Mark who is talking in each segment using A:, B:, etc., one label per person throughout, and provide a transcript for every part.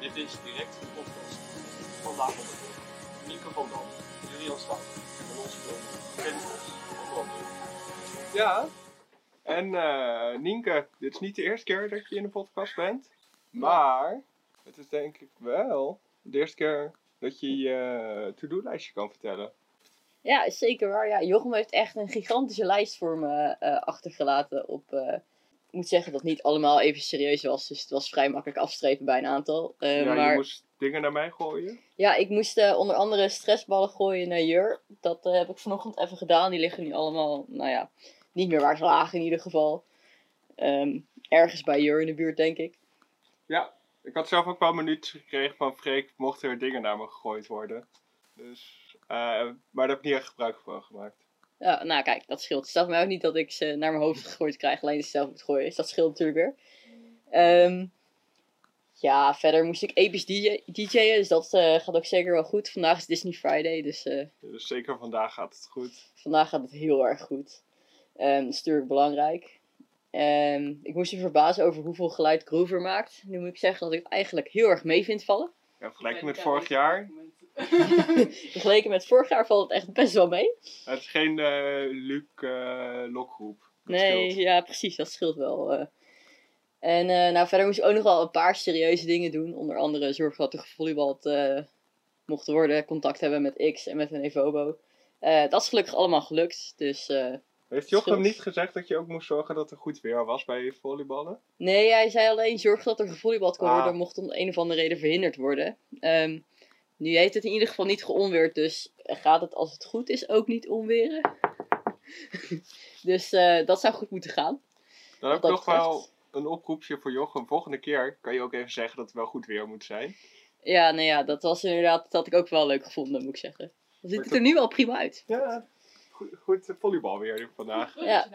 A: Dit is direct de podcast. Vandaag op de beurt. Nieke van Dam, Julian Stout en onze film Ken Bos van Brandweer.
B: Ja. En eh, Nienke, dit is niet de eerste keer dat je in de podcast bent. Maar het is denk ik wel de eerste keer dat je je to-do-lijstje kan vertellen.
C: Ja, is zeker waar. Ja, Jochem heeft echt een gigantische lijst voor me eh, achtergelaten. Op, eh, ik moet zeggen dat niet allemaal even serieus was. Dus het was vrij makkelijk afstrepen bij een aantal. Eh,
B: ja,
C: maar
B: je moest dingen naar mij gooien.
C: ja, ik moest eh, onder andere stressballen gooien naar Jur. Dat eh, heb ik vanochtend even gedaan. Die liggen nu allemaal, nou ja, niet meer waar ze lagen in ieder geval. Ehm, ergens bij Jur in de buurt, denk ik.
B: Ik had zelf ook wel minuutjes gekregen van Freek, mochten er dingen naar me gegooid worden. Dus, eh, maar daar heb ik niet echt gebruik van gemaakt.
C: Ja, nou kijk, dat scheelt. Het staat mij ook niet dat ik ze naar mijn hoofd gegooid krijg, alleen dat ik ze zelf moet gooien. Dus dat scheelt natuurlijk weer. Ehm, ja, verder moest ik episch DJ, DJ'en, dus dat eh, gaat ook zeker wel goed. Vandaag is Disney Friday, dus eh,
B: Dus zeker vandaag gaat het goed.
C: vandaag gaat het heel erg goed. Ehm dat is natuurlijk belangrijk. Ehm, ik moest je verbazen over hoeveel geluid Groover maakt. Nu moet ik zeggen dat ik het eigenlijk heel erg mee vind vallen.
B: Ja, vergeleken met vorig jaar.
C: Vergeleken met vorig jaar valt het echt best wel mee.
B: Het is geen eh Luc eh, lokroep. Dat
C: Nee,
B: scheelt.
C: ja, precies, dat scheelt wel. eh. En eh, nou, verder moest ik ook nog wel een paar serieuze dingen doen. Onder andere zorgen dat er gevolleybald eh, mocht worden, contact hebben met X en met een Evobo. Eh, dat is gelukkig allemaal gelukt. Dus eh,
B: Heeft Jochem
C: Scheelt.
B: niet gezegd dat je ook moest zorgen dat er goed weer was bij je volleyballen?
C: nee, hij zei alleen zorg dat er gevolleybald kon
B: Ah.
C: worden, mocht om een of andere reden verhinderd worden. Ehm, nu heeft het in ieder geval niet geonweerd, dus gaat het als het goed is ook niet onweren. dus eh, dat zou goed moeten gaan.
B: Dan heb ik
C: Wat
B: nog
C: dat betreft.
B: wel een oproepje voor Jochem. Volgende keer kan je ook even zeggen dat het wel goed weer moet zijn.
C: Ja, nou ja, dat was inderdaad, dat had ik ook wel leuk gevonden, moet ik zeggen. Dan ziet het
B: dat-
C: er nu al prima uit.
B: Ja, goed, goed volleybal weer vandaag.
C: Ja,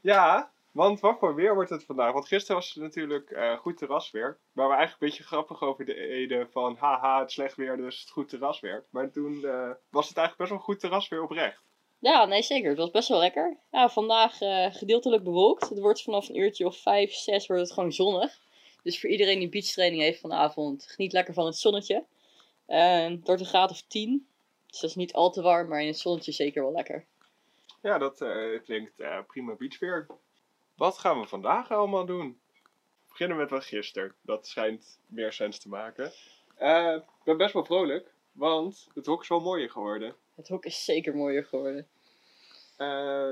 B: Ja, want wat voor weer wordt het vandaag? Want gisteren was het natuurlijk eh, goed terrasweer. Maar we eigenlijk een beetje grappig over de eden van haha, het is slecht weer, dus het goed terrasweer. Maar toen eh, was het eigenlijk best wel goed terrasweer oprecht.
C: Ja, nee zeker, het was best wel lekker. Ja, vandaag eh, gedeeltelijk bewolkt. Het wordt vanaf een uurtje of vijf, zes wordt het gewoon zonnig. Dus voor iedereen die beachtraining heeft vanavond, geniet lekker van het zonnetje. Eh, het wordt een graad of tien. Dus dat is niet al te warm, maar in het zonnetje zeker wel lekker.
B: Ja, dat eh, klinkt eh, prima beachweer. Wat gaan we vandaag allemaal doen? We beginnen met wat gisteren. Dat schijnt meer sens te maken. Eh, ik ben best wel vrolijk, want het hok is wel mooier geworden.
C: Het hok is zeker mooier geworden.
B: Eh,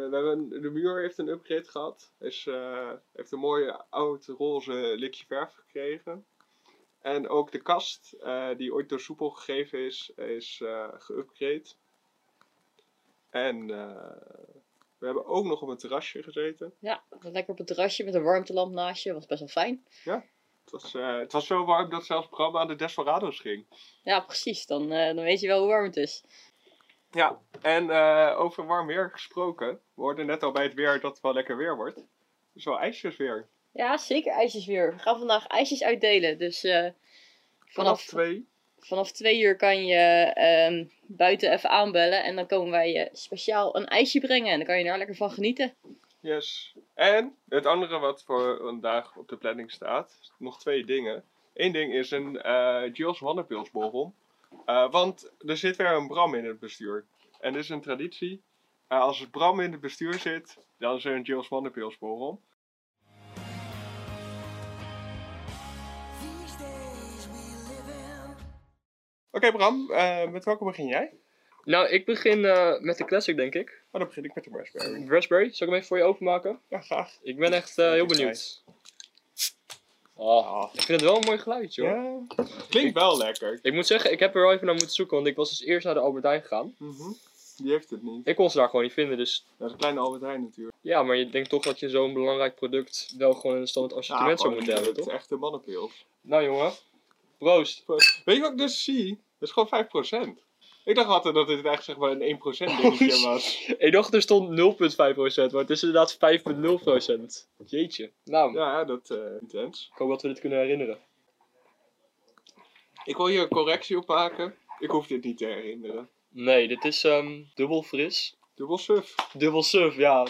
B: we hebben, de muur heeft een upgrade gehad. Is, eh, heeft een mooie oud-roze likje verf gekregen. En ook de kast, eh, die ooit door Soepel gegeven is, is eh geüpgrade. En eh, we hebben ook nog op een terrasje gezeten.
C: Ja, lekker op het terrasje met een warmtelamp naast je, was best wel fijn.
B: Het was, eh, het was zo warm dat zelfs Bram aan de Desperados ging.
C: Ja, precies. Dan, eh, dan weet je wel hoe warm het is.
B: Ja, en eh, over warm weer gesproken. We hoorden net al bij het weer dat het wel lekker weer wordt. Het is wel ijsjes weer.
C: Ja, zeker ijsjes weer. We gaan vandaag ijsjes uitdelen. Dus eh,
B: Vanaf
C: vanaf,
B: twee.
C: vanaf twee uur kan je ehm, buiten even aanbellen. En dan komen wij je speciaal een ijsje brengen. En dan kan je daar lekker van genieten.
B: Yes. En het andere wat voor vandaag op de planning staat. Nog twee dingen. Eén ding is een eh Jules Wannepilsborrel. Eh, want er zit weer een Bram in het bestuur. En dit is een traditie. Eh, als het Bram in het bestuur zit, dan is er een Jules Wannepilsborrel.
D: These days we live in.
B: Oké Bram, eh, met welke begin jij?
E: Nou, ik begin eh, met de classic, denk ik.
B: Oh, dan begin ik met de raspberry.
E: Raspberry, zal ik hem even voor je openmaken?
B: Ja, graag.
E: Ik ben echt eh, heel benieuwd. Ah, ik vind het wel een mooi geluidje hoor.
B: Ja. Klinkt wel lekker.
E: Ik moet zeggen, ik heb er wel even naar moeten zoeken, want ik was dus eerst naar de Albert Heijn gegaan.
B: Mhm. Die heeft het niet.
E: Ik kon ze daar gewoon niet vinden, dus
B: Dat is een kleine Albert Heijn natuurlijk.
E: ja, maar je denkt toch dat je zo'n belangrijk product wel gewoon in een standaard assortiment zou moeten hebben,
B: Het
E: toch?
B: is echt een mannenpils.
E: Nou jongen, proost.
B: Weet je wat ik dus zie? Dat is gewoon 5%. Ik dacht altijd dat dit echt zeg maar een 1% dingetje
E: Oh,
B: was.
E: Ik dacht er stond 0,5%, maar het is inderdaad 5,0%. Jeetje. Nou,
B: Ja, dat eh intens.
E: ik hoop dat we dit kunnen herinneren.
B: Ik wil hier een correctie op maken. Ik hoef dit niet te herinneren.
E: Nee, dit is ehm, dubbel fris.
B: Dubbel suf.
E: Dubbel surf, ja.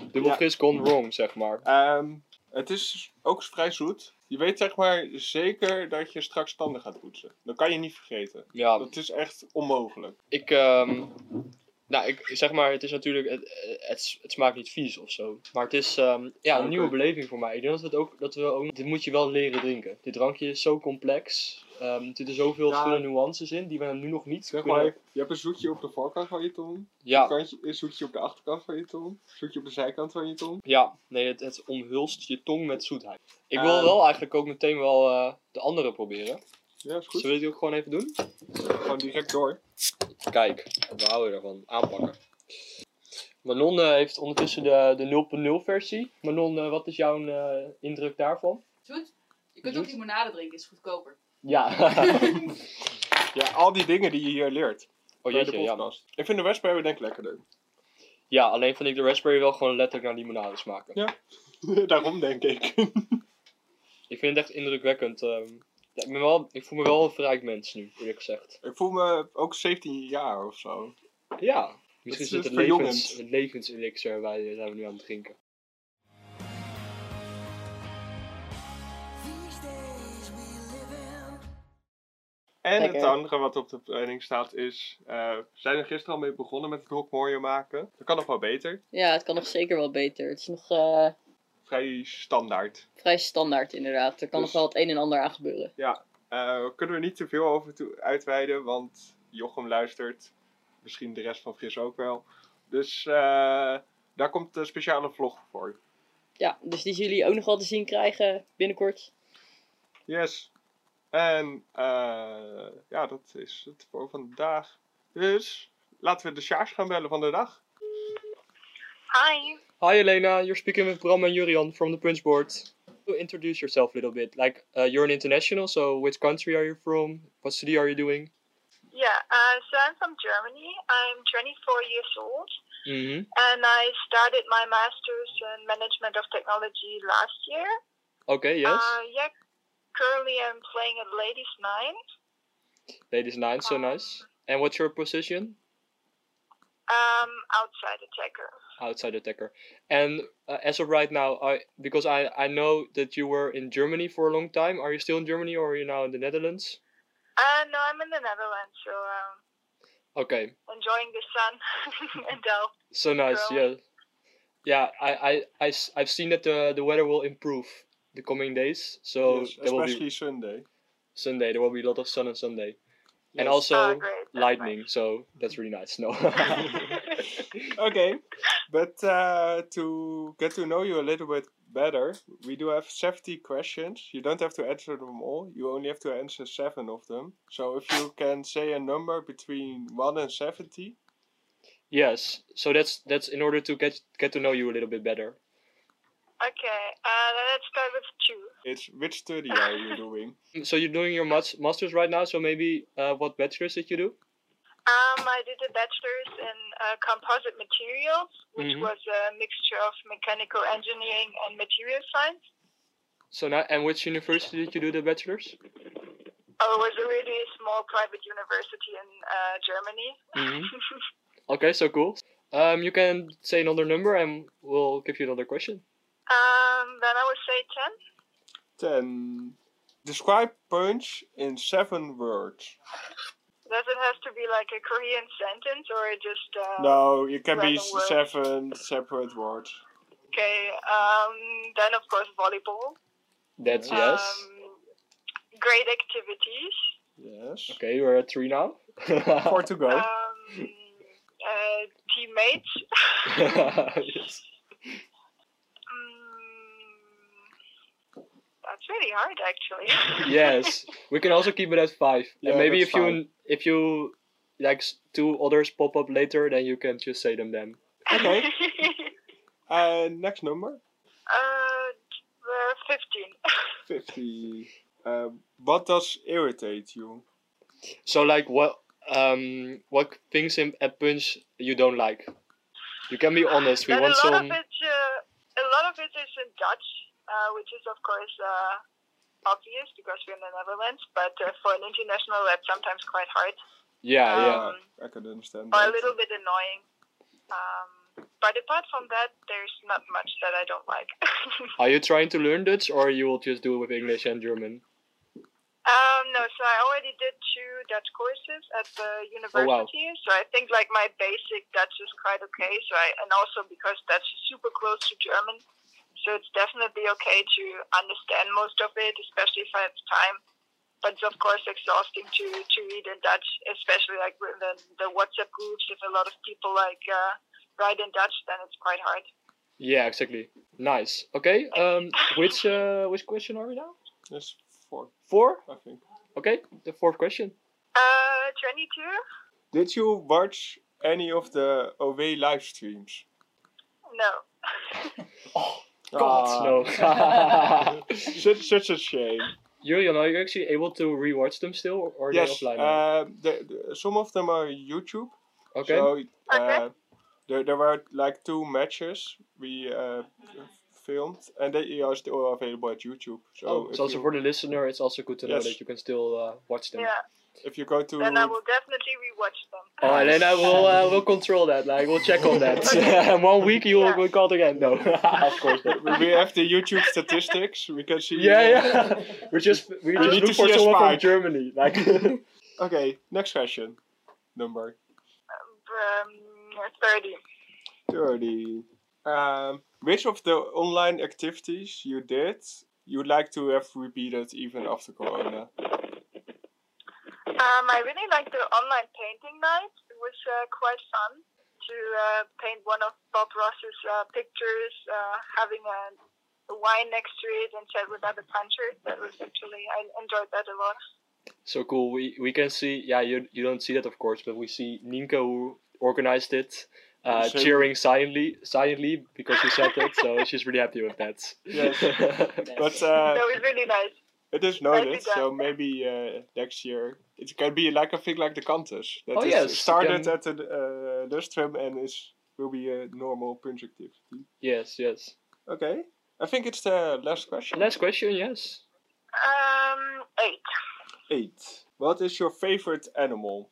E: Dubbel
B: Ja.
E: fris gone wrong, zeg maar.
B: Ehm, Het is ook vrij zoet. Je weet zeg maar zeker dat je straks tanden gaat poetsen. Dat kan je niet vergeten.
F: Ja,
B: Dat is echt onmogelijk.
F: ik, ehm, nou, ik zeg maar, het is natuurlijk, het, het, het smaakt niet vies of zo. Maar het is ehm, ja, een
B: Oké.
F: nieuwe beleving voor mij. Ik denk dat we het ook, dat we ook, dit moet je wel leren drinken. Dit drankje is zo complex. Ehm, er zitten zoveel
B: Ja.
F: verschillende nuances in die we nu nog niet
B: Zeg
F: kunnen...
B: maar, je hebt een zoetje op de voorkant van je tong.
F: Ja,
B: Een kantje- Een zoetje op de achterkant van je tong. Een zoetje op de zijkant van je tong.
F: Ja, nee, het, het omhulst je tong met zoetheid. Ik wil
B: Ehm.
F: wel eigenlijk ook meteen wel eh, de andere proberen.
B: Ja, is goed.
F: Zullen we die ook gewoon even doen?
B: Gewoon direct door.
F: Kijk, we houden ervan. Aanpakken. Manon eh, heeft ondertussen de, de 0.0 versie. Manon, eh, wat is jouw eh, indruk daarvan?
G: Zoet? Je kunt
F: Zoet?
G: ook limonade drinken, is goedkoper.
F: Ja.
B: Ja, al die dingen die je hier leert.
F: oh
B: bij
F: jeetje,
B: de
F: ja.
B: podcast. Ik vind de raspberry denk ik lekkerder.
F: Ja, alleen vind ik de raspberry wel gewoon letterlijk naar limonade smaken.
B: Daarom denk ik.
F: Ik vind het echt indrukwekkend. ehm. ja, ik, ben wel, ik voel me wel een verrijkt mens nu, eerlijk gezegd.
B: Ik voel me ook 17 jaar of zo.
F: Ja. Misschien
B: Dat
F: zit
B: is dus
F: het
B: verjongend.
F: levens, het levenselixer wij zijn we nu aan het drinken.
D: These days we live in.
B: En het
C: Lekker.
B: andere wat op de planning staat is... eh, we zijn er gisteren al mee begonnen met het hok mooier maken. Dat kan nog wel beter.
C: Ja, het kan nog zeker wel beter. Het is nog eh,
B: Vrij standaard.
C: vrij standaard inderdaad. Er kan
B: Dus-
C: nog wel het een en ander aan gebeuren.
B: Eh kunnen we niet te veel over toe- uitweiden, want Jochem luistert. Misschien de rest van Fris ook wel. Dus eh, daar komt een speciale vlog voor.
C: Ja, dus die zullen jullie ook nog wel te zien krijgen binnenkort.
B: Yes. En eh, ja, dat is het voor vandaag. Dus laten we de Sjaars gaan bellen van de dag.
H: Hi.
F: Hi Elena, you're speaking with Bram and Jurian from the Punch Board. So Introduce yourself a little bit. Like, uh, you're an international, so which country are you from? What city are you doing?
H: Yeah, uh, so I'm from Germany. I'm 24 years old
F: Mm-hmm.
H: and I started my master's in management of technology last year.
F: Okay, yes.
H: Uh, yeah, currently I'm playing at Ladies Nine.
F: Ladies nine, so nice. And what's your position?
H: Um, outside attacker.
F: Outside attacker. And uh, as of right now, I because I, I know that you were in Germany for a long time. Are you still in Germany or are you now in the Netherlands?
H: Uh, no, I'm in the Netherlands, so um,
F: Okay,
H: enjoying the sun and Delft.
F: so nice, yeah.
H: Growing.
F: Yeah, I, I, I, have seen that the, the weather will improve the coming days, so
B: Yes,
F: there will be...
B: especially Sunday.
F: Sunday. There will be a lot of sun on Sunday,
B: Yes.
F: and also
H: Ah, great, that's
F: lightning. So that's really nice. No.
B: Oké. But uh, to get to know you a little bit better, we do have 70 questions. You don't have to answer them all. You only have to answer seven of them. So if you can say a number between 1 and 70.
F: yes. So that's that's in order to get get to know you a little bit better.
H: Okay, uh, then let's start with two.
B: It's which study are you doing?
F: Mm, So you're doing your mas- masters right now. So maybe uh, what bachelor's did you do?
H: Um, I did a bachelor's in uh, composite materials, which
F: Mhm.
H: was a mixture of mechanical engineering and material science.
F: So now, and which university did you do the bachelor's?
H: Oh, it was a really small private university in uh, Germany. Mm-hmm.
F: Mhm. Okay, so cool. Um, you can say another number, and we'll give you another question.
H: um, then I would say 10.
B: 10. Describe punch in seven words.
H: Does it have to be like a Korean sentence or just. Uh,
B: No, it can be
H: random words.
B: seven separate words.
H: Okay, um, then of course volleyball.
F: That's yes.
H: Um, great activities.
B: Yes.
F: Okay, we're at three now.
B: Four to go.
H: Um, uh, teammates.
F: Yes.
H: Mm, that's really hard, actually.
F: yes we can also keep it at five
B: Yeah,
F: and maybe
B: that's
F: if you if you like s- two others pop up later then you can just say them then
B: Okay. And next number?
H: uh, uh, 15.
B: 50. Uh, what does irritate you?
F: so like what um what things in at punch you don't like you can be honest we
H: Then
F: want
H: a lot
F: some
H: of it, uh, a lot of it is in Dutch, uh, which is of course uh, obvious because we're in the Netherlands. But uh, for an international, that's sometimes quite hard
F: yeah yeah
H: Um,
B: I can understand
H: or a
B: that.
H: little bit annoying. Um, But apart from that, there's not much that I don't like.
F: Are you trying to learn Dutch or you will just do it with English and German?
H: um, no, so I already did two Dutch courses at
F: Oh,
H: the university, so I think like my basic Dutch is quite okay. So I and also because Dutch is super close to German, so it's definitely okay to understand most of it, especially if I have time. But it's of course exhausting to to read in Dutch, especially like with the, the WhatsApp groups. If a lot of people like uh, write in Dutch, then it's quite hard.
F: Yeah, exactly. Nice. Okay. Um, which uh, which question are we now?
B: That's four,
F: Four.
B: I think.
F: Okay, the fourth question.
H: Uh, 22.
B: Did you watch any of the OW livestreams?
H: No.
B: Ah,
F: No.
B: such, such a shame.
F: Julian, are you actually able to rewatch them still, or- or are
B: yes,
F: they offline? now?
B: uh, the, the- some of them are YouTube.
F: okay.
B: So, uh,
H: Okay.
B: there, there were like two matches we uh, filmed, and they are still available at YouTube. So,
F: oh,
B: if,
F: so also
B: you,
F: for the listener, it's also good to know
B: Yes.
F: that you can still uh, watch them.
H: Yeah.
B: if you go to.
H: Then I will definitely rewatch them.
F: Oh, and then I will uh, will control that. Like we'll check on that. And One week you will
H: Yeah.
F: will call it again. No, of course. Not.
B: we we have the YouTube statistics. We can see.
F: Yeah, yeah. We just we
B: need
F: just
B: to
F: look for
B: see a
F: someone from
B: spike.
F: Germany. Like
B: Okay, next question. Number
H: Um, 30.
B: 30. Um, which of the online activities you did you would like to have repeated even after Corona?
H: Um, I really liked the online painting night. It was uh, quite fun to uh, paint one of Bob Ross's uh, pictures, uh, having a, a wine next to it and chat with other punchers. That was actually, I enjoyed that a lot.
F: so cool. We we can see. Yeah, you you don't see that of course, but we see Nienke who organized it, uh,
B: Same.
F: cheering silently silently because she said it. So she's really happy with that.
B: But uh,
H: That was really nice.
B: it is
H: Maybe
B: noted,
H: that-
B: so maybe uh, next year it can be like a thing like the contest that
F: Oh,
B: is
F: yes,
B: started
F: can-
B: at the uh, lustrum and is will be a normal punch activity.
F: yes, yes.
B: Okay, I think it's the last question.
F: Last question. Yes.
H: Um, 8.
B: Eight. What is your favorite animal?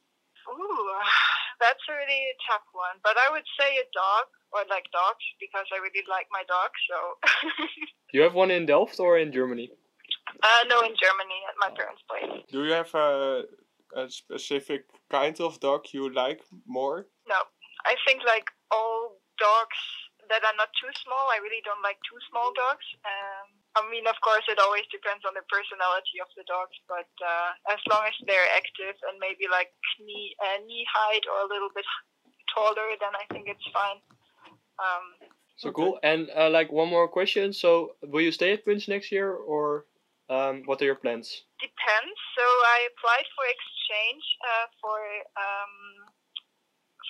H: Ooh, that's a really tough one. But I would say a dog, or like dogs, because I really like my dog. So,
F: You have one in Delft or in Germany?
H: uh, no, in Germany at my parents' place.
B: Do you have a, a specific kind of dog you like more?
H: I think like all dogs that are not too small. I really don't like too small dogs. Um, I mean, of course, it always depends on the personality of the dogs. But uh, as long as they're active and maybe like knee uh, knee height or a little bit taller, then I think it's fine. Um,
F: So
B: Okay.
F: cool. And uh, like one more question. So will you stay at Punch next year, or um, what are your plans?
H: Depends. So I applied for exchange uh, for um,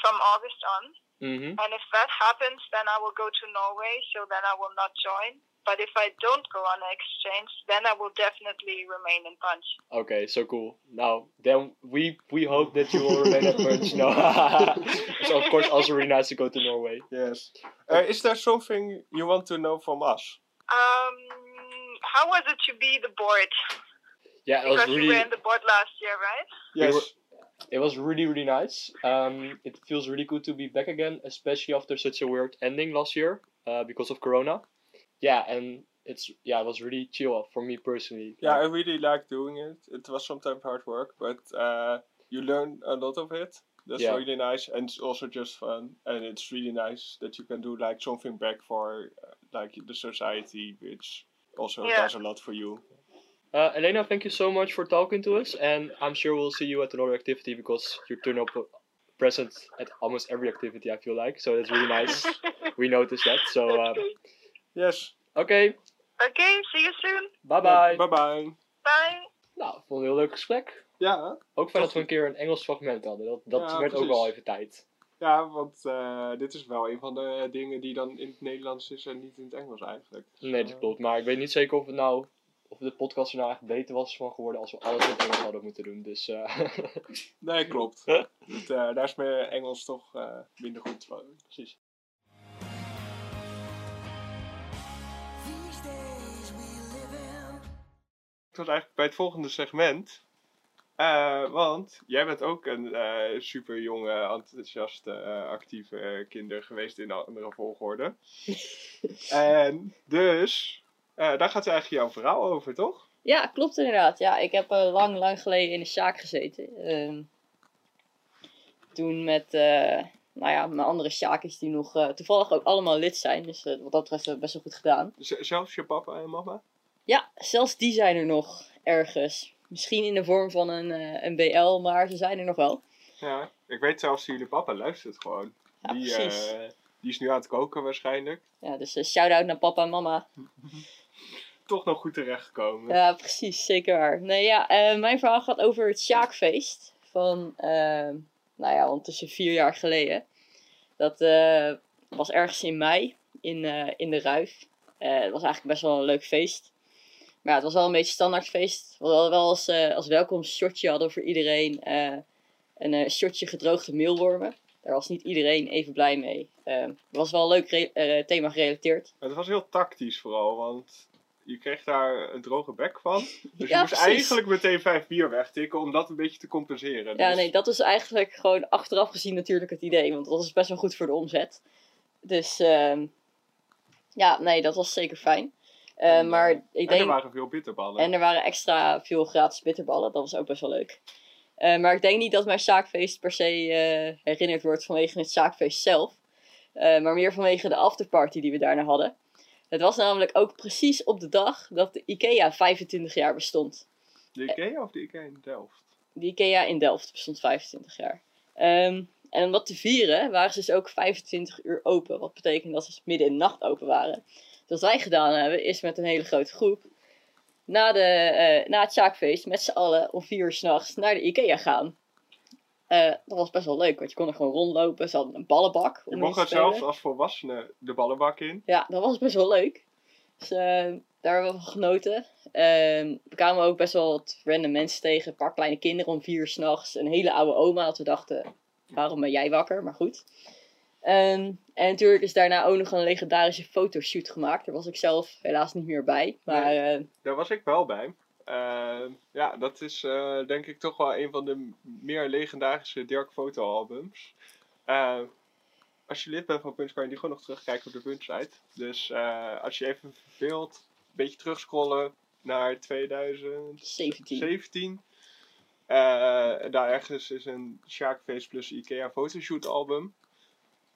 H: from August on,
F: Mm-hmm.
H: and if that happens, then I will go to Norway. So then I will not join. But if I don't go on exchange, then I will definitely remain in Punch.
F: Okay, so cool. Now then, we we hope that you will remain at Punch. No, so of course also really nice to go to Norway.
B: Yes. Uh, is there something you want to know from us?
H: Um, how was it to be the board?
F: Yeah, it was
H: Because you
F: really
H: were in the board last year, right?
F: We
B: Yes.
F: were- it was really really nice. Um, it feels really good to be back again, especially after such a weird ending last year uh, because of Corona. Yeah, and it's yeah, it was really chill for me personally.
B: yeah, I really like doing it. It was sometimes hard work, but uh, you learn a lot of it. That's
F: Yeah.
B: really nice, and it's also just fun. And it's really nice that you can do like something back for uh, like the society, which also
H: Yeah.
B: does a lot for you.
F: Uh, Elena, thank you so much for talking to us, and I'm sure we'll see you at another activity because you turn up uh, present at almost every activity. I feel like so that's really nice. we noticed that. So uh,
H: That's great.
B: Yes.
F: okay,
H: Okay, see you soon.
F: bye bye.
B: Bye bye.
H: Bye.
F: Nou, ik vond het een heel leuk gesprek.
B: Ja,
F: Ook fijn dat we een keer een Engels fragment hadden. Dat, dat
B: Ja,
F: werd ook
B: precies.
F: wel even tijd.
B: ja, want eh, dit is wel een van de eh, dingen die dan in het Nederlands is en niet in het Engels eigenlijk. Eh,
F: Nee, dat klopt. Maar ik weet niet zeker of het nou of de podcast er nou echt beter was van geworden als we alles in het Engels hadden moeten doen. Dus eh,
B: Nee, klopt. Dus, eh, daar is mijn Engels toch eh, minder goed van.
F: precies.
D: These days we live in
B: Ik was eigenlijk bij het volgende segment. Eh, Eh, want jij bent ook een eh, super jonge, enthousiaste, eh, actieve kinder geweest in een andere volgorde. en dus, eh, daar gaat eigenlijk jouw verhaal over, toch?
C: Ja, klopt inderdaad. Ja, ik heb eh, lang, lang geleden in een sjaak gezeten. Ehm, toen met, eh, nou ja, mijn andere sjaakjes die nog eh, toevallig ook allemaal lid zijn. Dus eh, wat dat betreft hebben we best wel goed gedaan.
B: Z- zelfs je papa en mama?
C: Ja, zelfs die zijn er nog ergens. Misschien in de vorm van een, eh, een BL, maar ze zijn er nog wel.
B: Ja. Ik weet zelfs dat jullie papa luistert gewoon.
C: Ja,
B: die,
C: precies.
B: eh, die is nu aan het koken waarschijnlijk.
C: Ja, dus eh, shout-out naar papa en mama.
B: Toch nog goed terechtgekomen.
C: Ja, precies, zeker waar. Nee, ja, eh, mijn verhaal gaat over het Sjaakfeest van, eh, nou ja, ondertussen vier jaar geleden. Dat eh, was ergens in mei in, eh, in de Ruif. Eh, het was eigenlijk best wel een leuk feest. Maar ja, het was wel een beetje standaard feest. We hadden wel als, eh als welkomstshotje hadden we voor iedereen eh, een eh, shotje gedroogde meelwormen. Daar was niet iedereen even blij mee. Eh, Het was wel leuk re- eh, thema gerelateerd.
B: Het was heel tactisch vooral, want je kreeg daar een droge bek van. Dus je
C: Ja,
B: moest
C: precies.
B: eigenlijk meteen vijf bier wegtikken om dat een beetje te compenseren.
C: Ja,
B: Dus-
C: nee, dat is eigenlijk gewoon achteraf gezien natuurlijk het idee. Want dat is best wel goed voor de omzet. Dus ehm, ja, nee, dat was zeker fijn. Eh,
B: En,
C: maar
B: eh,
C: ik
B: En
C: denk...
B: er waren veel bitterballen.
C: En er waren extra veel gratis bitterballen. Dat was ook best wel leuk. Eh, maar ik denk niet dat mijn zaakfeest per se eh, herinnerd wordt vanwege het zaakfeest zelf. Eh, maar meer vanwege de afterparty die we daarna hadden. Het was namelijk ook precies op de dag dat de IKEA 25 jaar bestond.
B: De Ikea of de Ikea in Delft?
C: De IKEA in Delft bestond 25 jaar. Ehm, en om dat te vieren waren ze dus ook 25 uur open. Wat betekent dat ze midden in de nacht open waren. Dus wat wij gedaan hebben is met een hele grote groep na, de, eh, na het zaakfeest met z'n allen om 4 uur s'nachts naar de IKEA gaan. Eh, dat was best wel leuk, want je kon er gewoon rondlopen. Ze hadden een ballenbak.
B: Je
C: om in
B: mocht
C: te
B: er
C: spelen.
B: zelfs als volwassene de ballenbak in.
C: Ja, dat was best wel leuk. Dus eh, daar hebben we van genoten. Ehm, we kwamen ook best wel wat random mensen tegen. Een paar kleine kinderen om vier uur s'nachts. Een hele oude oma. Dat we dachten, waarom ben jij wakker? Maar goed. Ehm, en natuurlijk is daarna ook nog een legendarische fotoshoot gemaakt. Daar was ik zelf helaas niet meer bij. Maar eh,
B: Daar was ik wel bij. Eh, ja, dat is eh, denk ik toch wel een van de m- meer legendarische Dirk fotoalbums. Eh, als je lid bent van Punch kan je die gewoon nog terugkijken op de Punch-site. Dus eh, als je even verveelt, een beetje terugscrollen naar 2017.
C: 17.
B: Eh, daar ergens is een Sharkface plus Ikea fotoshoot album.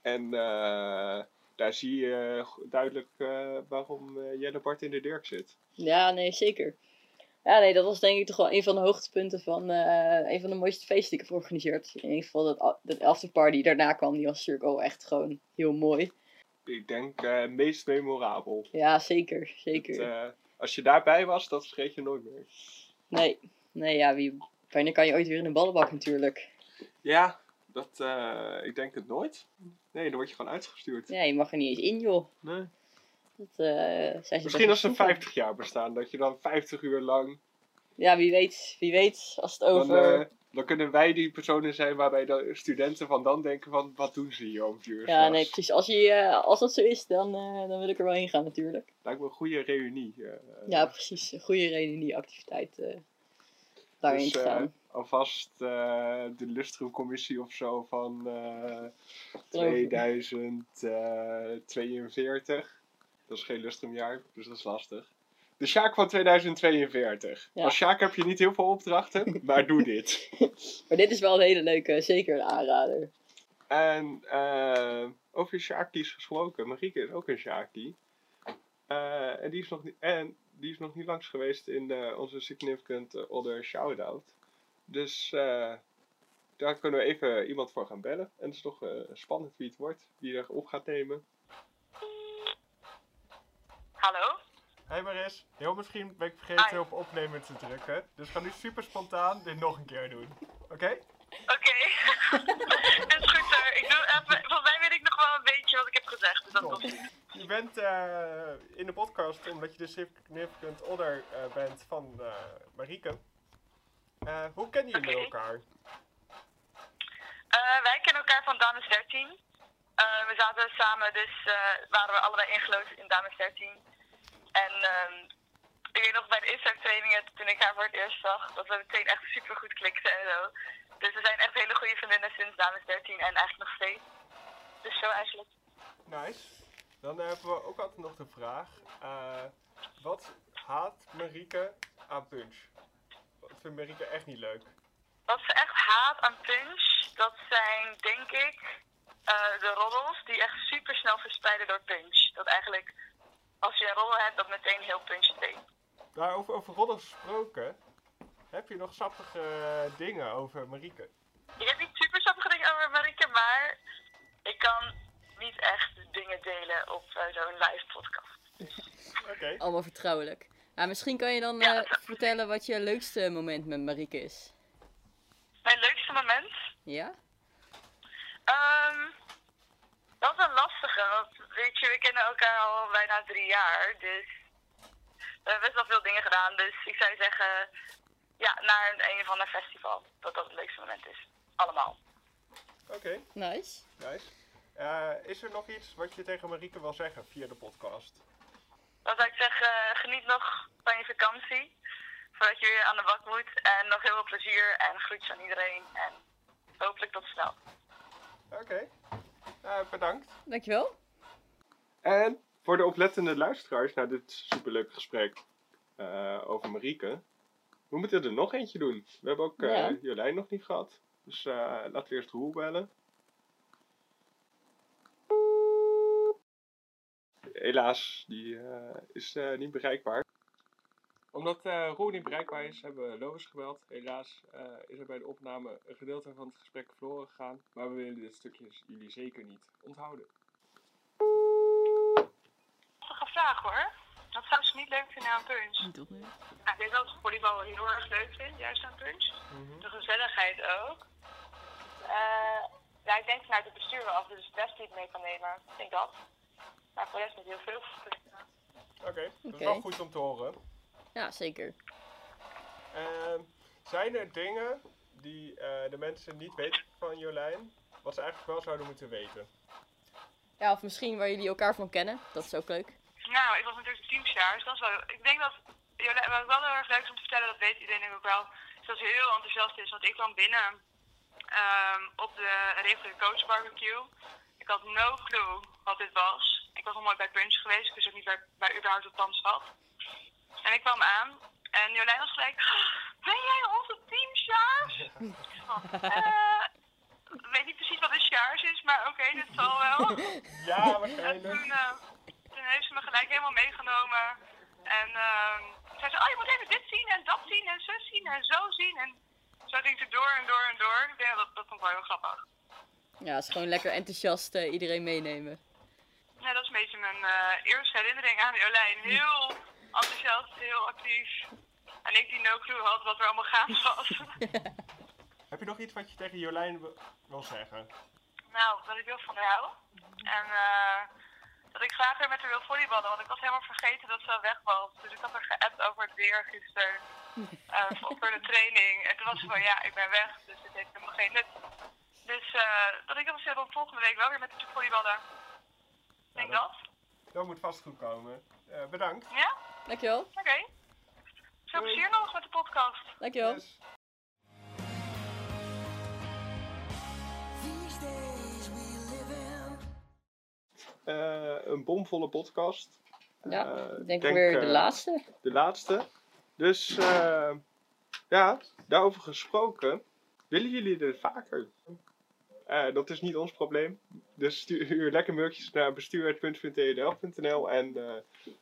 B: En eh, daar zie je eh, go- duidelijk eh, waarom eh, Jelle Bart in de Dirk zit.
C: Ja, nee, zeker. Ja, nee, dat was denk ik toch wel een van de hoogtepunten van eh, een van de mooiste feesten die ik heb georganiseerd. In ieder geval dat, a- dat afterparty die daarna kwam, die was natuurlijk al echt gewoon heel mooi.
B: ik denk, eh, meest memorabel.
C: Ja, zeker, zeker.
B: Het, eh, als je daarbij was, dat vergeet je nooit meer.
C: Nee, nee, ja, wie... Wanneer kan je ooit weer in een ballenbak natuurlijk?
B: Ja, dat, eh, ik denk het nooit. Nee, dan word je gewoon uitgestuurd.
C: Ja, je mag er niet eens in, joh.
B: Nee.
C: Dat, eh, zijn ze
B: Misschien als
C: best wel
B: ze
C: goed in.
B: 50 jaar bestaan, dat je dan 50 uur lang...
C: Ja, wie weet, wie weet, als het
B: Dan,
C: over...
B: eh, dan kunnen wij die personen zijn waarbij de studenten van dan denken van... Wat doen ze hier om vier uur
C: ja,
B: s'nachts?
C: nee, precies. Als, je, eh, als dat zo is, dan, eh, dan wil ik er wel heen gaan natuurlijk.
B: Lijkt me een goede reunie. eh,
C: Ja, precies. Een goede reden die activiteit eh, daarin
B: Dus,
C: te
B: eh,
C: gaan.
B: alvast eh, de lustrumcommissie of zo van eh,
C: Geloof ik.
B: 2042. Dat is geen lustrumjaar, dus dat is lastig. De Sjaak van 2042.
C: Ja.
B: Als Sjaak heb je niet heel veel opdrachten, maar doe dit.
C: Maar dit is wel een hele leuke, zeker een aanrader.
B: En eh, over Sjaakties gesproken. Marieke is ook een Sjaakie. Eh, en, die is nog niet, en die is nog niet langs geweest in eh, onze Significant eh, Other Shoutout. Dus eh, daar kunnen we even iemand voor gaan bellen. En het is toch eh, spannend wie het wordt, wie er op gaat nemen.
H: Hallo?
B: Hey Maris, heel misschien ben ik
H: Hi.
B: vergeten op opnemen te drukken. Dus ga nu super spontaan dit nog een keer doen. Oké?
H: Oké. dat is goed hoor. Ik doe even, volgens mij weet ik nog wel een beetje wat ik heb gezegd. Dus dat
B: Top.
H: komt
B: Je bent eh, in de podcast omdat je de significant other eh, bent van eh, Marieke. Eh, hoe kennen jullie
H: Oké.
B: elkaar?
H: Eh, wij kennen elkaar van Dames 13. Eh, we zaten samen, dus eh, waren we allebei ingeloosd in Dames 13. En ehm, Ik weet nog bij de Instagram trainingen, toen ik haar voor het eerst zag, dat we meteen echt super goed klikten en zo. Dus we zijn echt hele goede vriendinnen sinds dames 13 en eigenlijk nog steeds. Dus zo eigenlijk.
B: Nice. Dan hebben we ook altijd nog de vraag. eh, wat haat Marieke aan Punch? Wat vindt Marieke echt niet leuk?
H: Wat ze echt haat aan Punch, dat zijn denk ik eh, de roddels die echt super snel verspreiden door Punch. Dat eigenlijk, als je een roddel hebt, dat meteen heel Punch steekt.
B: Daarover Nou, over roddels gesproken. Heb je nog sappige eh, dingen over Marieke?
H: Ik heb niet super sappige dingen over Marike, maar ik kan niet echt dingen delen op eh, zo'n live podcast.
B: Oké.
C: Allemaal vertrouwelijk. Nou, misschien kan je dan
H: Ja.
C: eh, vertellen wat je leukste moment met Marieke is.
H: Mijn leukste moment
C: Ja?
H: Ehm, dat is een lastige. want Weet je, we kennen elkaar al bijna drie jaar. Dus we hebben best wel veel dingen gedaan. Dus ik zou zeggen, ja, naar een, een of ander festival. Dat dat het leukste moment is. Allemaal.
B: Oké,
C: Nice.
B: nice. Eh, is er nog iets wat je tegen Marieke wil zeggen via de podcast?
H: Dan zou ik zeggen, eh, geniet nog van je vakantie. Voordat je weer aan de bak moet. En nog heel veel plezier en groetjes aan iedereen. En hopelijk tot snel.
B: Oké. Eh, bedankt.
C: Dankjewel.
B: En voor de oplettende luisteraars naar dit superleuke gesprek eh, over Marieke. We moeten er nog eentje doen. We hebben ook eh,
C: Ja.
B: Jolijn nog niet gehad. Dus eh, laten we eerst Roel bellen. Helaas, die eh, is eh, niet bereikbaar. Omdat eh Roel niet bereikbaar is, hebben we Lois gebeld. Helaas eh, is er bij de opname een gedeelte van het gesprek verloren gegaan. Maar we willen dit stukje dus jullie zeker niet onthouden.
H: Lastige vraag hoor. Wat zou ze niet leuk vinden aan Punch?
C: Niet opnemen.
H: Ja, ik denk dat ik volleybal heel erg leuk vind, juist aan Punch. De gezelligheid ook. Eh, ja, ik denk vanuit het bestuur wel af, dus best niet mee kan nemen. Ik denk dat. Maar voor de rest niet heel veel.
B: Oké, dat is
C: Oké.
B: wel goed om te horen.
C: Ja, zeker.
B: Ehm, zijn er dingen die eh, de mensen niet weten van Jolijn, wat ze eigenlijk wel zouden moeten weten?
C: Ja, of misschien waar jullie elkaar van kennen. Dat is ook leuk.
H: Nou, ik was natuurlijk teamsjaar, dus dat is wel... Ik denk dat... Jolijn- Wat wel heel erg leuk is om te vertellen, dat weet iedereen denk ik ook wel, is dat ze heel enthousiast is. Want ik kwam binnen ehm, op de reguliere coach barbecue. Ik had no clue wat dit was. Ik was nog nooit bij Punch geweest, ik wist ook niet waar, waar überhaupt het pand zat. En ik kwam aan en Jolijn was gelijk... Ben jij onze teamsjaars? Eh ik weet niet precies wat een sjaars is, maar oké, dit zal wel.
B: Ja,
H: En
B: waarschijnlijk.
H: toen, eh, toen heeft ze me gelijk helemaal meegenomen. En ehm zei ze, oh je moet even dit zien en dat zien en zo zien en zo zien. En zo ging ze door en door en door. Ik denk dat, dat vond ik wel heel grappig.
C: Ja, het is gewoon lekker enthousiast eh, iedereen meenemen.
H: Ja, dat is een beetje mijn eh, eerste herinnering aan Jolijn. Heel enthousiast, heel actief. En ik die no clue had wat er allemaal gaande was.
B: Heb je nog iets wat je tegen Jolijn wi- wil zeggen?
H: Nou, dat ik heel van haar hou. En eh, dat ik graag weer met haar wil volleyballen. Want ik was helemaal vergeten dat ze al weg was. Dus ik had haar geappt over het weer gisteren. eh, voor voor de training. En toen was ze van, ja, ik ben weg. Dus dit heeft helemaal geen nut. Dus eh, dat ik heb gezegd om volgende week wel weer met haar te volleyballen. Ik denk
B: Ja,
H: dat.
B: Dat moet vast goed komen. Eh, bedankt.
H: Ja?
C: Dankjewel.
H: Oké. Veel plezier nog met de podcast.
C: Dankjewel.
B: Yes.
I: These days we live in.
B: Eh, een bomvolle podcast.
C: Ja,
B: Eh,
C: ik denk weer de
B: eh,
C: laatste.
B: De laatste. Dus eh, ja, daarover gesproken. Willen jullie er vaker? Eh, dat is niet ons probleem. Dus stuur lekker mailtjes naar e bestuur.punt.tdl.nl en eh,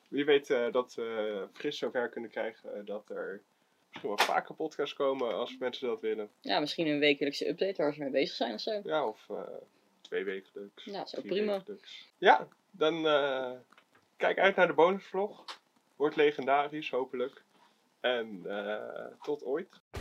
B: wie weet eh, dat we fris zover kunnen krijgen eh, dat er misschien wel vaker podcasts komen als mensen dat willen.
C: Ja, misschien een wekelijkse update waar ze mee bezig zijn of zo.
B: Ja, of eh, twee dus. wekelijks.
C: Ja, is ook
B: drie
C: prima.
B: wekelijks. dus. Ja, dan eh, kijk uit naar de bonusvlog. Wordt legendarisch, hopelijk. En eh, tot ooit.